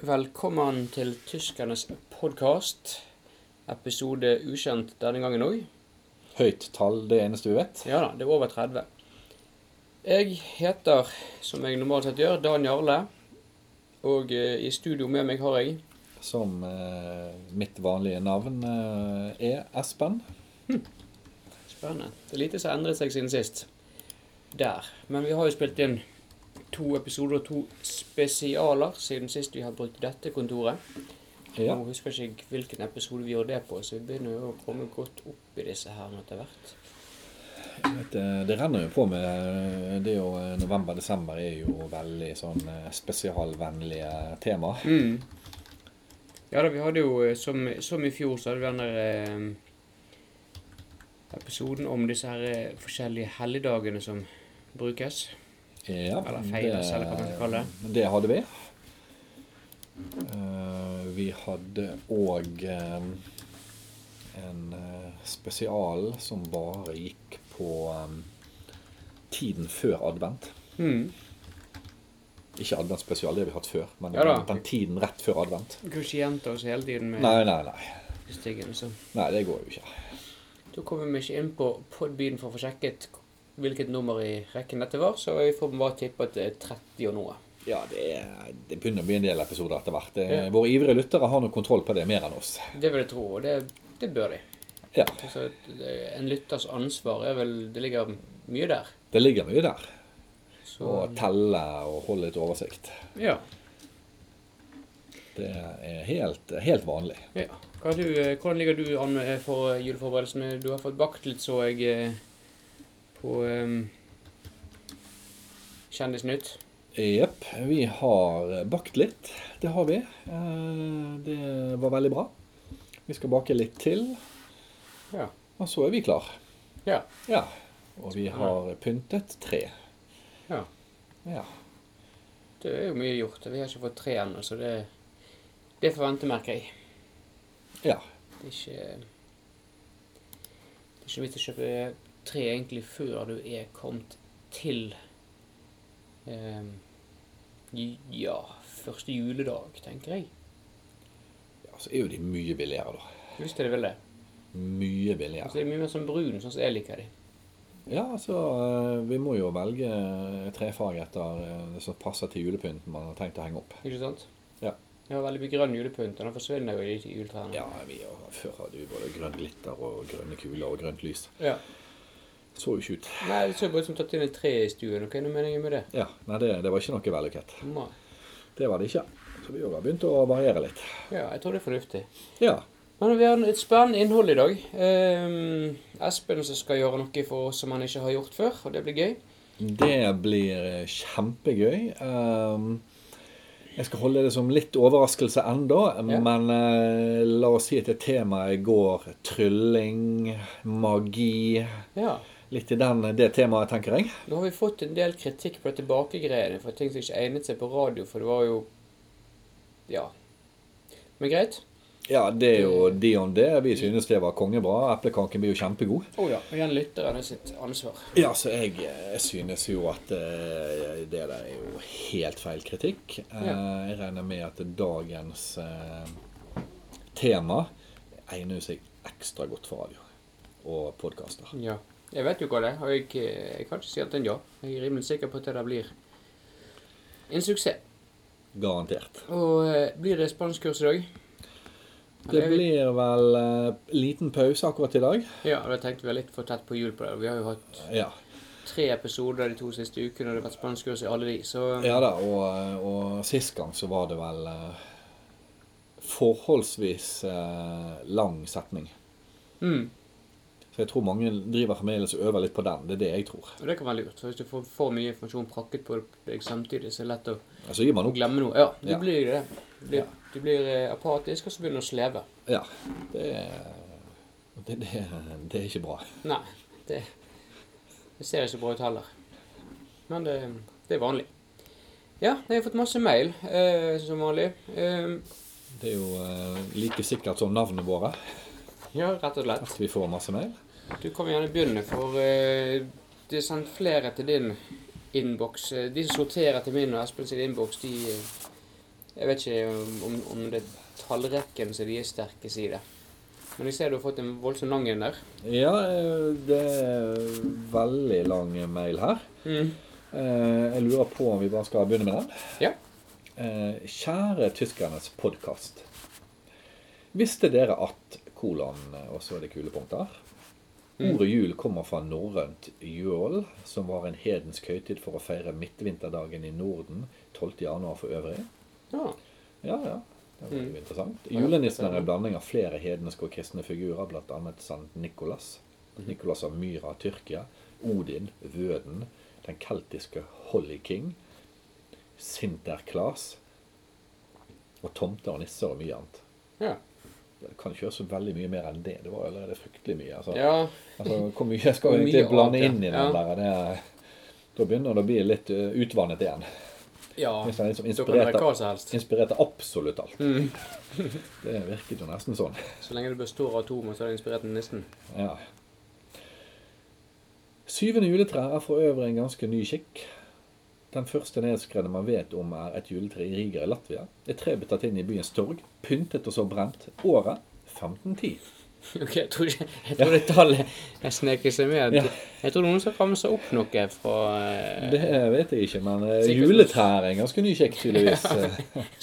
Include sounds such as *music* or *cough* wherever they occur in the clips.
Velkommen til Tyskernes podkast, episode ukjent denne gangen òg. Høyt tall, det eneste du vet. Ja da, det er over 30. Jeg heter, som jeg normalt sett gjør, Dan Jarle. Og eh, i studio med meg har jeg Som eh, mitt vanlige navn eh, er Espen. Spennende. Det er lite som har endret seg siden sist. Der. Men vi har jo spilt inn to episoder og to spesialer siden sist vi har brukt dette kontoret. Ja. Nå husker jeg ikke hvilken episode vi gjorde det på, så vi begynner jo å komme godt opp i disse her nå etter hvert. Vet, eh, det renner jo på med eh, det er jo eh, November-desember er jo veldig sånn eh, spesialvennlige tema. Mm. Ja da, vi hadde jo eh, som, som i fjor, så hadde vi den der eh, episoden om disse her eh, forskjellige helligdagene som brukes. Ja, Eller feires, eller hva man skal kalle det. Det hadde vi. Eh, vi hadde òg en eh, spesial som bare gikk på eh, tiden før advent. Mm. Ikke adventsspesial, det har vi hatt før. Men Ja da. den tiden rett før advent. Vi kunne ikke gjenta oss hele tiden med Nei, nei, nei. disse tingene. Så. Nei, det går jo ikke. Da kommer vi ikke inn på Podbean for å få sjekket hvilket nummer i rekken dette var, så vi får bare tippe at det er 30 og noe. Ja, det, er, det begynner å bli en del episoder etter hvert. Det, Ja. Våre ivrige lyttere har nok kontroll på det mer enn oss. Det vil jeg tro, og det, det bør de. Ja, Altså, det- en lytters ansvar er vel Det ligger mye der. Det ligger mye der. Så Å telle og holde litt oversikt. ja. Det er helt, helt vanlig. Ja. Hva du, eh, hvordan ligger du an eh, for juleforberedelsene? Du har fått bakt litt, så jeg, eh, på eh, Kjendisnytt. Jepp. Vi har bakt litt. Det har vi. Eh, Det var veldig bra. Vi skal bake litt til, Ja. og så er vi klar. Ja. Ja. Og vi har pyntet tre. Ja. Ja. Det er jo mye gjort. Vi har ikke fått tre ennå, så det, det får vente, merker jeg. ja. Det er ikke Det er ikke vits å kjøpe tre egentlig før du er kommet til eh, j- Ja, første juledag, tenker jeg. Ja, så er jo de mye billigere, da. Hvis det er vel det. Mye Altså, billigere. det er mye mer sånn brun, sånn som jeg liker de. Ja, altså eh, vi må jo velge trefag etter eh, som passer til julepynten man har tenkt å henge opp. Ikke sant? Ja. Jeg har veldig mye grønn julepynt, og den forsvinner jo i de juletrærne. Ja, vi har, Før hadde vi både grønn glitter og grønne kuler og grønt lys. Ja. Så jo ikke ut. Nei, det ser bare ut som tatt inn et tre i stuen. Hva er det meningen med det? Ja, nei, det, det var ikke noe vellykket. Nei. Det var det ikke. Så vi har begynt å variere litt. Ja, jeg tror det er fornuftig. Ja. Men vi har et spennende innhold i dag. Ehm, Espen som skal gjøre noe for oss som han ikke har gjort før, og det blir gøy. Det blir eh, kjempegøy. Ehm, Jeg skal holde det som litt overraskelse Ja. enda, men eh, la oss si at temaet går trylling, magi Ja. Litt i den, det temaet, tenker jeg. Nå har vi fått en del kritikk på det tilbakegreiene for ting som ikke egnet seg på radio, for det var jo Ja. Men greit. Ja, det er jo de om det. Vi synes det var kongebra. Eplekaken blir jo kjempegod. Å ja. Og igjen lytteren er sitt ansvar. Ja, så jeg, eh, synes jo at eh, det der er jo helt feil kritikk. Eh, Ja. Jeg regner med at dagens eh, tema egner seg ekstra godt for radio og podkaster. Ja. Jeg vet jo hva det er, og jeg, jeg kan ikke si annet enn ja. Jeg er rimelig sikker på at det der blir en suksess. Garantert. Og eh, blir det spanskkurs i dag? Det blir vel eh, liten pause akkurat i dag. Ja, da tenkte vi litt for tett på jul på det. Vi har jo hatt Ja, tre episoder de to siste ukene, og det har vært spanskkurs i alle de, så eh, ja da, og, eh, og sist gang så var det vel eh, forholdsvis eh, lang setning. mm. Så jeg tror mange driver fremdeles og øver litt på den. Det er det jeg tror. Og det kan være lurt. For hvis du får for mye informasjon prakket på deg samtidig, så er det lett å Altså gir man å opp. glemme noe. Ja, du Ja. blir jo det. Du blir, du blir eh, apatisk, og så begynner du å sleve. Ja. Det, det, det, det er ikke bra. Nei, det, det ser ikke så bra ut heller. Men det, det er vanlig. Ja, jeg har fått masse mail, eh, som vanlig. Eh, Det er jo eh, like sikkert som navnene våre ja, rett og slett. at vi får masse mail. Du kan gjerne begynne, for eh, det er sendt flere til din innboks. Eh, De som sorterer til min og Espen sin innboks, de eh, Jeg vet ikke om, om det er tallrekken som de er sterke i det. Men jeg ser du har fått en voldsom lang en der. Ja, eh, det er veldig lang mail her. Mm. Eh, Jeg lurer på om vi bare skal begynne med den. Ja. Eh, Kjære tyskernes podkast. Visste dere at kolon eh, og så er det kulepunkter? Mm. Ordet jul kommer fra norrønt jøl, som var en hedensk høytid for å feire midtvinterdagen i Norden 12. januar for øvrig. Ja. Ja, ja. Det var jo Mm. interessant. Ja, Julenissen er stemmer. en blanding av flere hedenske og kristne figurer, bl.a. Sankt Nikolas. Mhm. Nikolas av Myra, Tyrkia. Odin, Vøden. Den keltiske Holly King. Sinterklas. Og tomter og nisser og mye annet. Ja. Det kan ikke gjøre så veldig mye mer enn det. Det var allerede fryktelig mye. Altså, ja. altså Hvor mye jeg skal Hvor jeg egentlig mye annet, blande ja. inn i Ja. den der? Det, er- da begynner det å bli litt eh, utvannet igjen. ja. Hvis jeg er liksom Da kan det inspirert være av hva som helst. Inspirert av absolutt alt. Mm. *laughs* Det virket jo nesten sånn. Så lenge det består av atomer, så er det inspirert av *laughs* nissen. Ja. Syvende juletre er for øvrig en ganske ny skikk. Den første nedskredde man vet om, er et juletre i Riga i Latvia. Et tre ble tatt inn i byens torg, pyntet og så brent. Året 1510. Ok, Jeg tror, ikke, jeg tror det tallet jeg sneker seg med. Ja. Jeg tror noen skal ramse opp noe fra eh, Det vet jeg ikke, men eh, Sikkert- juletre er en ganske ny skikk, tydeligvis.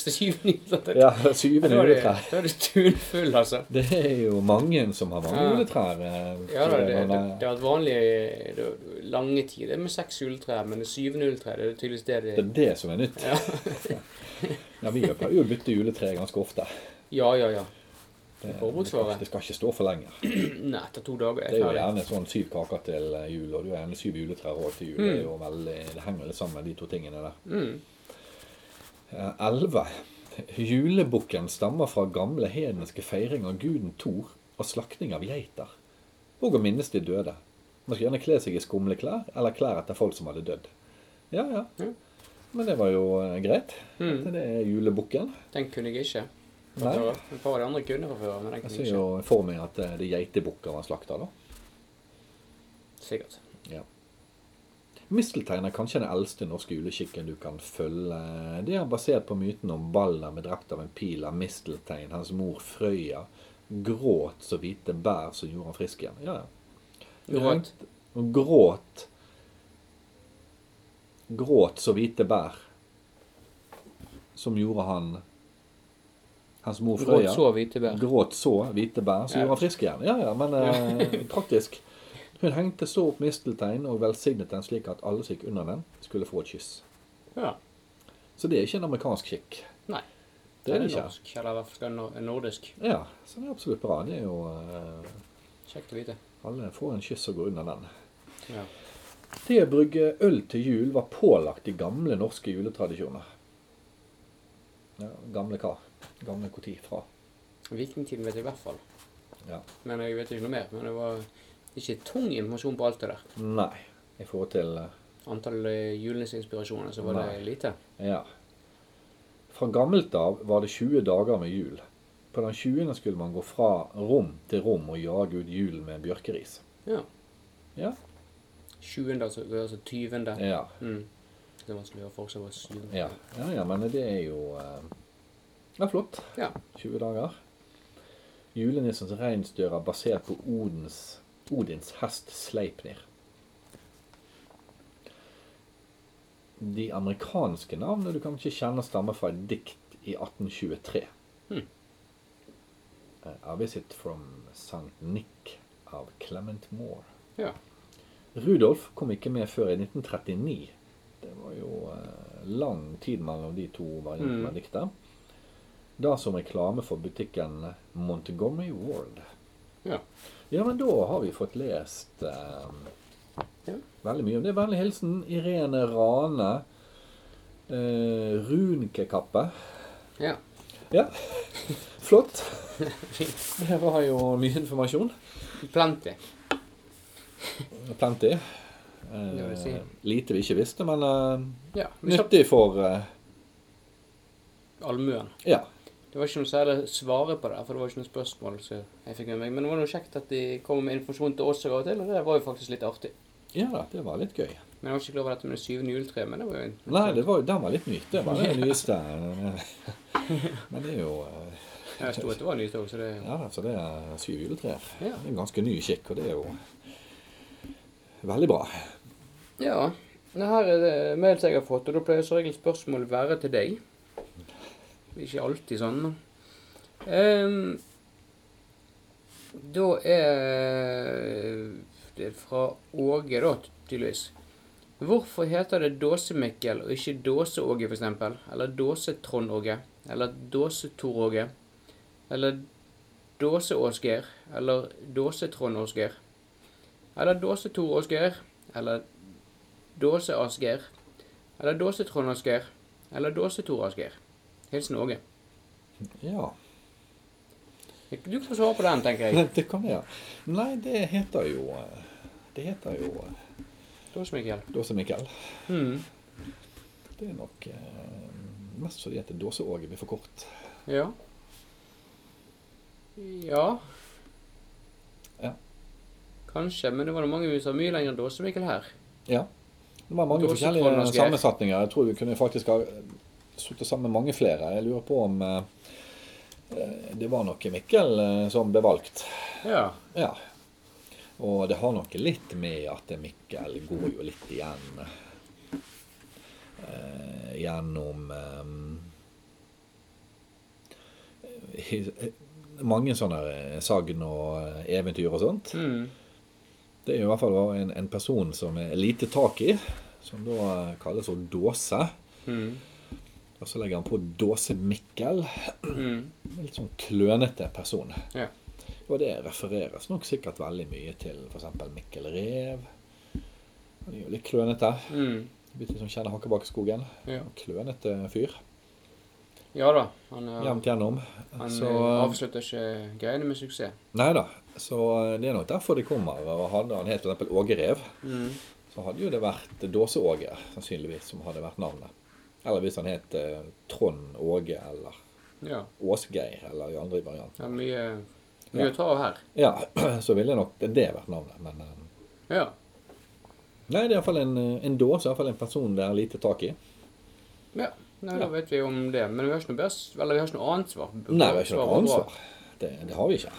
så syvende juletre. *laughs* Ja, Da syvende er det- juletre. da er det tunfull, altså. Det er jo mange som har mange Ja. juletrær. eh, Ja, da, det, det, det, det har vært vanlig i det- lange tider med seks juletrær, men det syvende juletreet det er tydeligvis det det de er det som er nytt. Ja. Ja, vi pleier jo å bytte juletre ganske ofte. Ja, ja, ja. Det, det, skal, Forbruksvare. det skal ikke stå for lenge. Nei, etter to dager er Det er jeg jo ferdig. gjerne sånn syv kaker til eh, jul, og du har gjerne syv juletrær også til jul. Det, er jo veldig, det henger litt sammen, de to tingene der. Mm. Eh, Elleve. Julebukken stammer fra gamle hedenske feiring av guden Thor og slakting av geiter. Og å minnes de døde. Man skulle gjerne kle seg i skumle klær, eller klær etter folk som hadde dødd. Ja, ja. Ja. Men det var jo eh, greit. Mm. Det er julebukken. Den kunne jeg ikke. Nei, Nei. Et par av de andre kunne fra før, men den jeg kunne ser jeg jo ikke. for meg at eh, det er geitebukker man slakter, da. Sikkert. Ja. Misteltein er kanskje den eldste norske juleskikken du kan følge. Det er basert på myten om Balder ble drept av en pil av misteltein. Hans mor Frøya gråt så hvite bær som gjorde han frisk igjen. Ja, ja. Gråt. Og gråt Gråt så hvite bær som gjorde han Hans mor Gråt Frøya så hvite bær. Gråt så hvite bær, så Ja. gjorde han frisk igjen. Ja, ja, men eh, praktisk. Hun hengte så opp misteltein og velsignet den slik at alle som gikk under den, skulle få et kyss. Ja. Så det er ikke en amerikansk skikk. Nei. Det er Den det ikke. norsk, eller i hvert fall nor- nordisk. Ja, så det er absolutt bra. Det er jo eh, Kjekt å vite. Alle får en kyss og går under den. Ja. Det å brygge øl til jul var pålagt i gamle norske juletradisjoner. Ja, gamle hva? Gamle når fra? Vikingtiden vet jeg i hvert fall. Ja. Men jeg vet ikke noe mer. Men det var ikke tung informasjon på alt det der. Nei, i forhold til eh, Antall eh, julenissinspirasjoner, så var Nei. det lite. Ja. Fra gammelt av var det 20 dager med jul. På den 20. skulle man gå fra rom til rom og jage ut julen med bjørkeris. Ja. Ja. 20. altså, altså 20. Ja, Mm. Det er vanskelig å gjøre folk som var syv. ja, ja, ja men det er jo eh, Det er flott. Ja. 20 dager. Julenissens reinsdyr er basert på Odins, Odins hest Sleipnir. De amerikanske navnene du kan ikke kjenne stammer fra et dikt i 1823. Hmm. Eh, A visit from St. Nick av Clement Moore. ja. Rudolf kom ikke med før i 1939. Det var jo eh, lang tid mellom de to variantene Mm. av diktet. Da som reklame for butikken Montgomery Ward. Ja. Ja, men da har vi fått lest eh, Ja. veldig mye om det. Vennlig hilsen Irene Rane. Eh, Runkekappe. ja. Ja, *laughs* flott. Det var jo mye informasjon. Plenty. Plenty. Det vil Eh, si. lite vi ikke visste, men eh, Ja. Vi slapp Nyttig for eh, allmuen. Ja. Det var ikke noe særlig svare på det, for det var ikke noe spørsmål så jeg fikk med meg. Men det var noe kjekt at de kom med informasjon til oss av og til, og det var jo faktisk litt artig. ja, det var litt gøy. Men jeg var ikke klar over dette med det syvende juletreet. Men det var jo en Nei, det var, den var litt nytt. Det var det nyeste. *laughs* Men det er jo eh, Jeg sto at det var nytt òg, så det Ja, altså det er syv juletrær. Det Ja. er en ganske ny kikk, og det er jo veldig bra. Ja. Det her er det mails jeg har fått, og da pleier som regel spørsmål være til deg. Ikke alltid sånn, men. Ehm, da er det fra Åge, da, tydeligvis. Hvorfor heter det Dåsemikkel og ikke Dåse-Åge, f.eks.? Eller Dåse-Trond-Åge? Eller Dåse-Tor-Åge? Eller Dåse-Åsgeir? Eller Dåse-Trond-Åsgeir? Eller Dåse-Tor-Åsgeir? Eller Dåse-Asgeir. Eller Dåse-Trond-Asgeir. Eller Dåse-Tor-Asgeir. Hilsen Åge. Ja. Du får svare på den, tenker jeg. Det kan jeg. Nei, det heter jo eh, Det heter jo eh, Dåse-Mikkel. Dåse-Mikkel. Mm. Det er nok eh, mest fordi at Dåse-Åge blir for kort. Ja. Ja. Ja. Kanskje, men det var det mange som sa mye lenger enn Dåse-Mikkel her. Ja. Det var mange Dåse, Trond og forskjellige Asgeir. sammensetninger. Jeg tror vi kunne faktisk ha suttet sammen mange flere. Jeg lurer på om eh, eh, det var noe Mikkel eh, som ble valgt. Ja. Ja. Og det har noe litt med at Mikkel går jo litt igjen eh, gjennom eh, his- eh, mange sånne eh, sagn og eh, eventyr og sånt. Mm. Det er jo i hvert fall da en, en person som er lite tak i, som da kalles for Dåse. Mm. Og så legger han på Dåse-Mikkel. Mm. En Litt sånn klønete person. Ja. Og det refereres nok sikkert veldig mye til f.eks. Mikkel Rev. Han er jo litt klønete. Mm. Litt som kjenner Hakkebakkeskogen. Ja. Klønete fyr. ja da. Han, er, Jevnt gjennom. han Så eh, avslutter ikke greiene med suksess. Nei da. Så eh, det er nok derfor det kommer. Og hadde han helt f.eks. Åge Rev, Mm. så hadde jo det vært Dåse-Åge, sannsynligvis, som hadde vært navnet. Eller hvis han het eh, Trond Åge eller Ja. Åsgeir eller i andre varianter. Det er mye, mye Ja. å ta av her. Ja, *clears throat* så ville nok det vært navnet. Men eh, Ja. nei, det er iallfall en, eh, en dåse, iallfall en person det er lite tak i. Ja, nei, Ja. da vet vi om det. Men vi har ikke noe, best, eller, vi har ikke noe annet svar. Nei, vi har ikke noe Svaret var bra. ansvar. Det, det har vi ikke.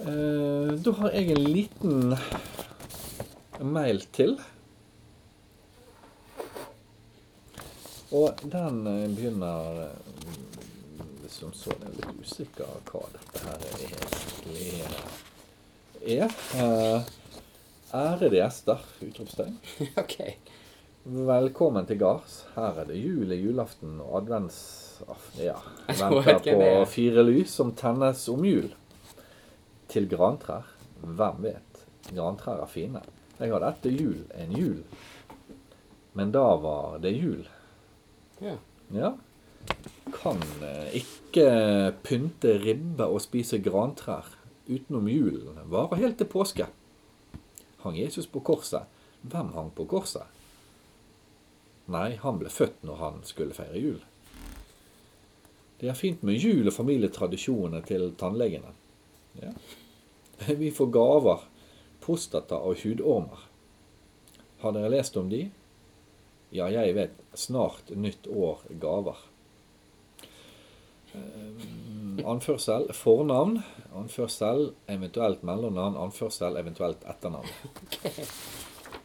Eh, da har jeg en liten mail til. Og den eh, begynner eh, som så Jeg er litt usikker hva dette her egentlig er. Eh, ærede gjester! Utropstegn. *laughs* ok. Velkommen til gards. Her er det jul i julaften og adventsaften. Ja. *laughs* Jeg tror jeg Venter vet hvem det er. på fire lys som tennes om jul. Til grantrær. Hvem vet? Grantrær er fine. Jeg hadde etter jul en jul. Men da var det jul. Ja. Ja. Kan eh, ikke pynte ribbe og spise grantrær utenom julen. Varer helt til påske. Hang Jesus på korset? Hvem hang på korset? Nei, han ble født når han skulle feire jul. Det er fint med jul og familietradisjonene til tannlegene. Ja. Vi får gaver, prostata og hudormer. Har dere lest om de? Ja, jeg vet. Snart nytt år gaver. Eh, Anførsel fornavn. Anførsel eventuelt mellomnavn. Anførsel eventuelt etternavn.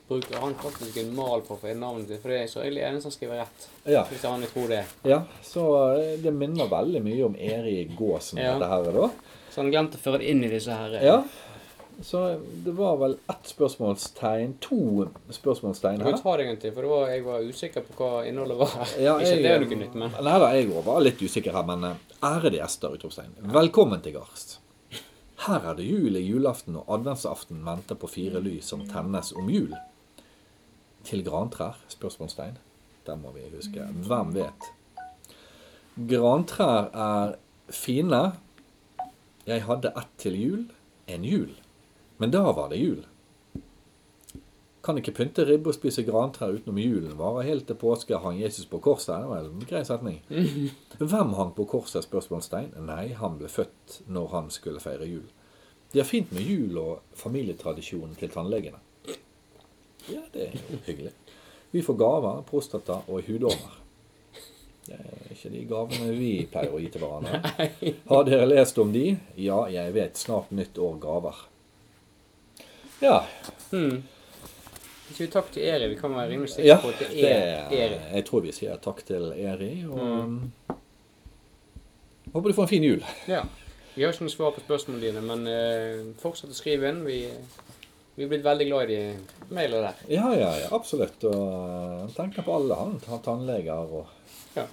Bruker han faktisk en mal for å finne navnet sitt? For det er så egentlig eneste han skriver rett. Ja, Hvis han vil tro det. ja så eh, det minner veldig mye om Erik Gåsen, Ja. dette her, da. Så han glemte å føre det inn i disse her. eh, Ja. Så det var vel ett spørsmålstegn, to spørsmålstegn Du her. kan ta det en gang til, for det var, jeg var usikker på hva innholdet var. Ja, *laughs* ikke at det er noe nytt, men Nei da, jeg også var litt usikker her, men eh, ærede gjester, utropstegn. Velkommen til gards. Her er det jul i julaften og adventsaften venter på fire lys som tennes om jul. Til grantrær? Spørsmålstegn. Den må vi huske. Hvem vet? Grantrær er fine. Jeg hadde ett til jul. En jul. Men da var det jul. Kan ikke pynte ribbe og spise grantrær utenom julen. Varer helt til påske. Hang Jesus på korset? Det var en sånn grei setning. Hvem hang på korset? spørsmålstegn. Nei, han ble født når han skulle feire jul. De har fint med jul og familietradisjonen til tannlegene. Ja, det er jo hyggelig. Vi får gaver, prostata og hudormer. Det er ikke de gavene vi pleier å gi til hverandre. Har dere lest om de? Ja, jeg vet. Snart nytt år gaver. Ja. Hmm. Ikke vi takk til Eri. Vi kan være rimelig sikre ja på at det det er Eri. jeg tror vi sier takk til Eri. Og håper du får en fin jul. Ja. Vi har ikke noe svar på spørsmålene dine, men eh, fortsett å skrive inn. Vi, vi er blitt veldig glad i de mailene der. Ja, ja, ja, absolutt. Og han tenker på alle, han. Han Tannleger og Ja.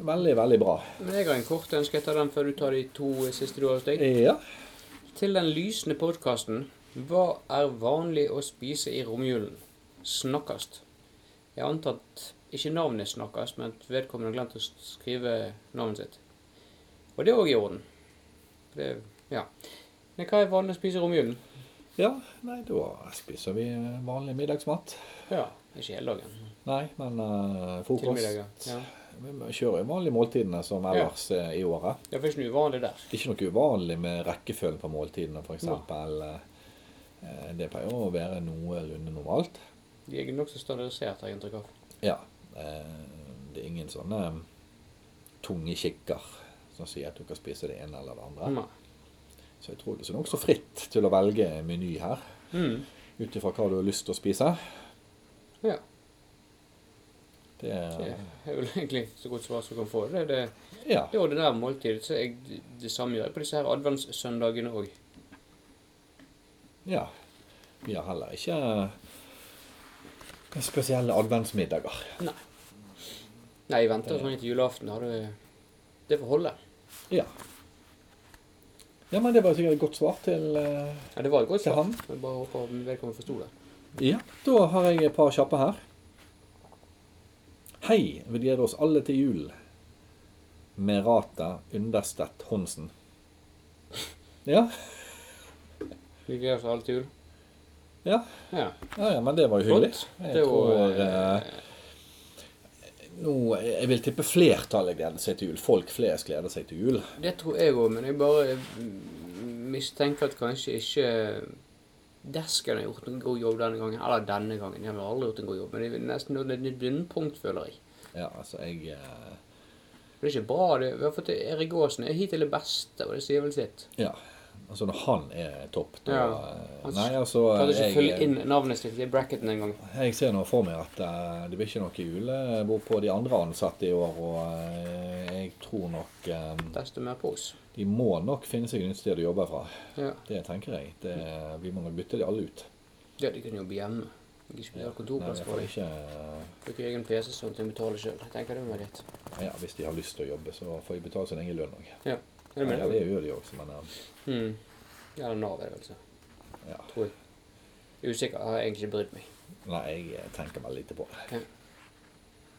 Veldig, veldig bra. Men jeg har en kort ønske etter den før du tar de to eh, siste du har hos deg. Ja. Til den lysende podkasten Hva er vanlig å spise i romjulen? Snakkast. Jeg antar at ikke navnet er snakkast, men at vedkommende har glemt å skrive navnet sitt. Og det er òg i orden. Det, ja. Men hva er vanlig å spise i romjulen? ja. Nei, da spiser vi eh, vanlig middagsmat. Ja, ikke hele dagen. Nei, men eh, Til frokost middagen. Ja. Vi kjører jo vanlige måltidene som ellers eh, i året. Det er faktisk noe uvanlig der. Det er ikke noe uvanlig med rekkefølgen på måltidene, f.eks. Eh, det pleier å være noenlunde normalt. De er nokså standardisert, har jeg inntrykk av. Ja. Eh, det er ingen sånne eh, tunge kikker som sier at du kan spise det ene eller det andre. Nei. Så jeg tror det er nokså fritt til å velge meny her, Mm. ut ifra hva du har lyst til å spise. Ja. Det Det er, er vel egentlig så godt svar som du kan få. Det er det, ja. det ordinære måltidet. Så jeg, det samme gjør jeg på disse her adventssøndagene òg. ja. Vi har heller ikke eh, spesielle adventsmiddager. Nei, jeg venter sånn til julaften. Har du Det får holde. Ja. ja, men det var sikkert et godt svar til eh, Ja, det var et godt Til svar. han? Jeg bare håper vedkommende forsto det. Ja, da har jeg et par kjappe her. Hei, vi gleder oss alle til jul. Merata Understedt Honsen. Ja, Vi gleder oss alle til jul. ja, Ja. ja, ja, men det var jo hyggelig. Flott. Jeg Det var tror, eh, Nå, jeg vil tippe flertallet gleder seg til jul. Folk flest gleder seg til jul. Det tror jeg òg, men jeg bare mm, mistenker at kanskje ikke Desken har gjort en god jobb denne gangen. Eller denne gangen. De har aldri gjort en god jobb, men det er nesten et nytt bunnpunkt, føler jeg. Ja, altså, jeg eh, Det er ikke bra. det. Vi har fått Erik Aasen er hittil det beste, og det sier vel sitt. Ja. Altså, når han er topp, da Ja. eh, Han Nei, altså Klarte ikke å følge jeg, inn navnet sitt i bracketen engang. Jeg ser nå for meg at eh, det blir ikke noe julebord på de andre ansatte i år, og eh, jeg tror nok eh, Desto mer på oss. De må nok finne seg et nytt sted å jobbe fra. Ja. Det tenker jeg. Det, vi må nok bytte de alle ut. ja, de kunne jobbe hjemme. Jeg skulle ha Nei, kontorplass jeg for får deg. ikke eh, Bruke egen PC sånn at jeg betaler sjøl. Jeg tenker det må være litt. Ja, hvis de har lyst til å jobbe, så får de betale sin egen lønn òg. Ja. Er Ja, det med det det? gjør de også, men eh, Mm. Ja, eller Nav er det, altså. ja. Tror jeg. Usikker. Jeg har egentlig ikke brydd meg. Nei, jeg eh, tenker meg lite på det. Ja.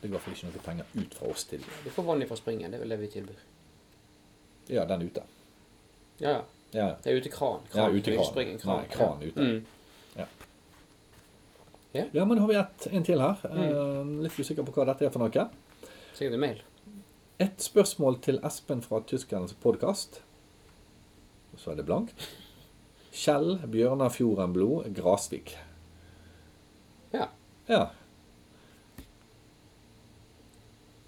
Det går i hvert fall ikke noe penger ut fra oss til Du får vann fra springen. Det er vel det vi tilbyr. Ja, den ute. Ja, ja. Ja, ja. Det er utekran. Ja, ute ikke kran. springen, Nei, kran Ja. ute. Mm. ja men nå har vi ett en til her. Mm. Eh, Litt usikker på hva dette er for noe. Sikkert en mail. Et spørsmål til Espen fra Tyskernes podkast. Og så er det blankt. Kjell Bjørnafjordenblod Grasvik. Ja. Ja.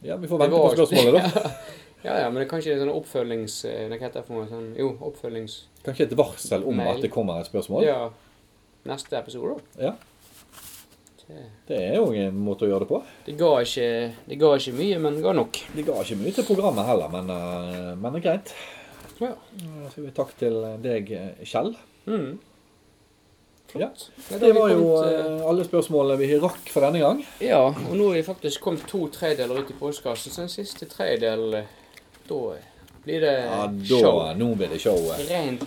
Ja, vi får Det vente på var- spørsmålet, da. *laughs* Ja, ja, men det er kanskje en sånn oppfølgings... eh, Hva heter det for noe? Sånn, jo, oppfølgings... Kanskje et varsel om Mail. at det kommer et spørsmål? Ja, neste episode, da. Ja, Det, Det er jo en måte å gjøre det på. det, ga ikke, det ga ikke mye, men det ga nok. Det ga ikke mye til programmet heller, men, eh, men det er greit. Ja. Da sier vi takk til deg, eh, Kjell. Mm. Flott. Ja, da Det har vi var jo kommet, eh, eh, alle spørsmålene vi rakk for denne gang. Ja, og nå er vi faktisk kommet to tredjedeler ut i postkassen, så den siste tredjedel eh, Da blir det Ja, Eh, show. da, nå blir det showet. Rent.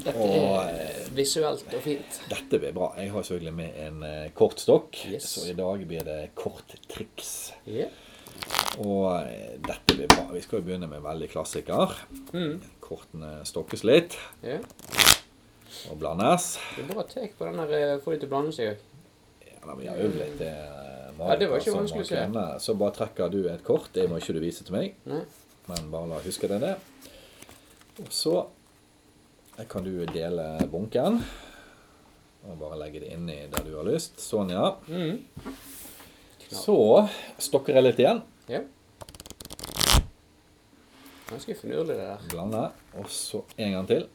Dette Og, eh, er visuelt og fint. Dette blir bra. Jeg har selvfølgelig med en eh, kortstokk, Yes. så i dag blir det korttriks. Ja. Og eh, dette blir bra. Vi skal jo begynne med en veldig klassiker. Mm. Kortene stokkes litt ja. og blandes. Det er bra tek på den der eh, få de til å blande seg òg. Ja, men vi har øvd litt. Det, eh, Ja, det var ikke som man vanskelig å se. kunne. Så bare trekker du et kort. Det må ikke du vise til meg, Nei. men bare la huske deg det. Og så Der kan du dele bunken. Og bare legge det inni der du har lyst. Sånn, ja. Mm. Så stokker jeg litt igjen. Ja. Ganske finurlig, det der. Blande. Og så en gang til.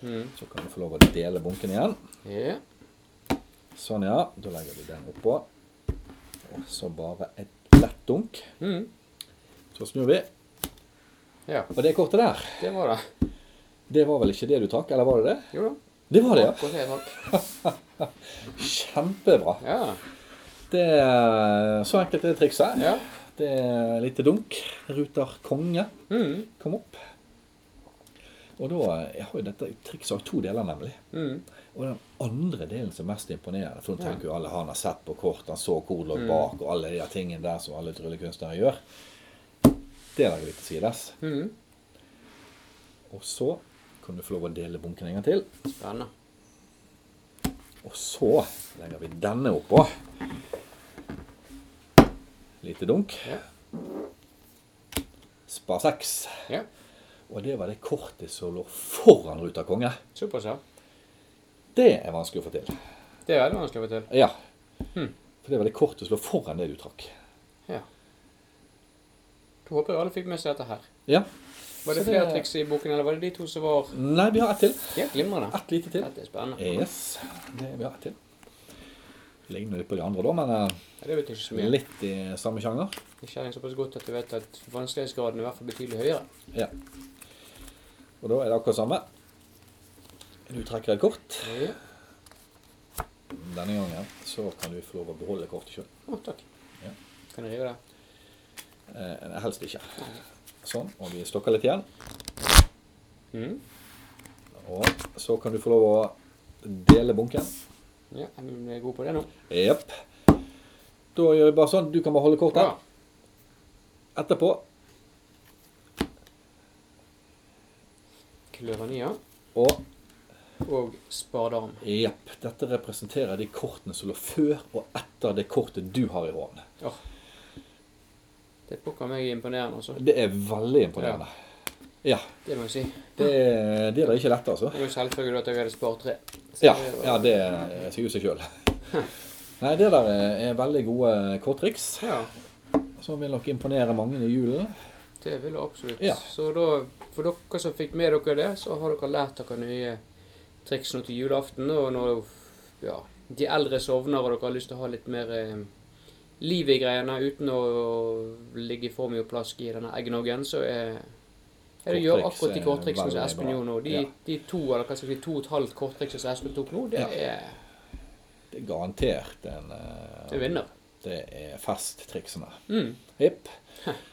Mm. Så kan du få lov å dele bunken igjen. Ja. Sånn, ja. Da legger du den oppå. Og så bare et lett dunk. Mm. Så snur vi. ja. Og det kortet der, Det var det. det var vel ikke det du trakk? Eller var det det? Jo da. Det var det, ja. Akkurat det, takk. Kjempebra. Ja. Det er så enkelt det trikset. ja. Det er lite dunk. Ruter konge Mm. kom opp. Og da jeg har jo dette trikset har to deler, nemlig. Mm. Og den andre delen som er mest imponerende, for nå tenker jo alle han har sett på kort, han så hvor lå Mm. bak, og alle de der tingene der som alle tryllekunstnere gjør. Det legger vi til sides. Mm. Og så kan du få lov å dele bunken en gang til. Spennende. Og så legger vi denne oppå. Lite dunk. Ja. Spar seks. ja. Og det var det kortet som lå foran Ruta konge. Såpass, ja. Det er vanskelig å få til. Det er veldig vanskelig å få til. Ja. Hmm. For det var det kortet som lå foran det du trakk. Ja. Da håper jeg alle fikk med seg dette her. Ja. Var det Så det- flere triks i boken, eller var det de to som var Nei, vi har ett til. Ja, glimrende. Ett lite til. Dette er spennende. Yes. Det vi har ett til. Ligner litt på de andre, da, men eh, Ja, det betyr ikke så mye. litt i samme sjanger. Jeg kjenner såpass godt at du vet at vanskelighetsgraden er i hvert fall betydelig høyere. Ja. Og da er det akkurat samme. Du trekker et kort. Ja. Denne gangen så kan du få lov å beholde kortet sjøl. Å, takk. Ja. Kan jeg rive det? Eh, helst ikke. Sånn. Og vi stokker litt igjen. Mm. Og så kan du få lov å dele bunken. Ja, men jeg er god på det nå. Jepp. Da gjør vi bare sånn. Du kan bare holde kortet. Bra. Etterpå Kløvania og og spardam. Jepp. Dette representerer de kortene som lå før og etter det kortet du har i hånden. Åh. Det er pokker meg imponerende, altså. Det er veldig imponerende. Ja. Det må jeg si. Det, det er da ikke lett, altså. Det er jo selvfølgelig at jeg hadde spart tre. Så Ja, det var- ja det sier jo *laughs* seg sjøl. Nei, det der er veldig gode korttriks ja, som vil nok imponere mange i julen. det vil jeg absolutt. Ja. Så da, for dere som fikk med dere det, så har dere lært dere nye triks nå til julaften. Og når ja, de eldre sovner og dere har lyst til å ha litt mer eh, liv i greiene uten å ligge for mye plask i denne eggnoggen, så er er det å gjøre Korttriks akkurat de er korttriksene som veldig Espen bra. gjorde nå. De, Ja. de to eller hva skal jeg si, to og et halvt korttriksene som Espen tok nå, det Ja. er Det er garantert en det er eh, vinner. Det er festtriksene. Mm. *laughs* Hipp.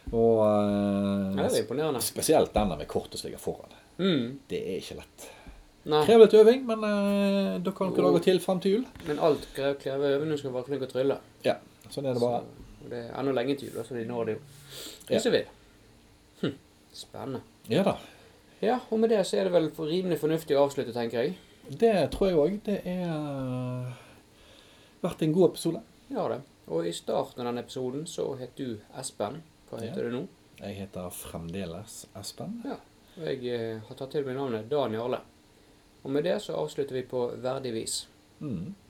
Og Ja, det eh, er imponerende. spesielt denne med kortet som ligger foran. Mm. Det er ikke lett. Nei. Krever litt øving, men eh, da kan Jo. dere lage til frem til jul. Men alt krever krever øving. Du skal være flink å trylle. Ja, sånn er det bare. Så- og det er ennå lenge til jul, da, så de når det jo. Ja. Det som vil. Hm. Spennende. Ja da. Ja, og med det så er det vel for rimelig fornuftig å avslutte, tenker jeg. Det tror jeg òg. Det er eh, vært en god episode. Ja, det. Og i starten av denne episoden så het du Espen. Hva heter du nå? Jeg heter fremdeles Espen. Ja. Og jeg eh, har tatt til meg navnet Dan Jarle. Og med det så avslutter vi på verdig vis. Mm.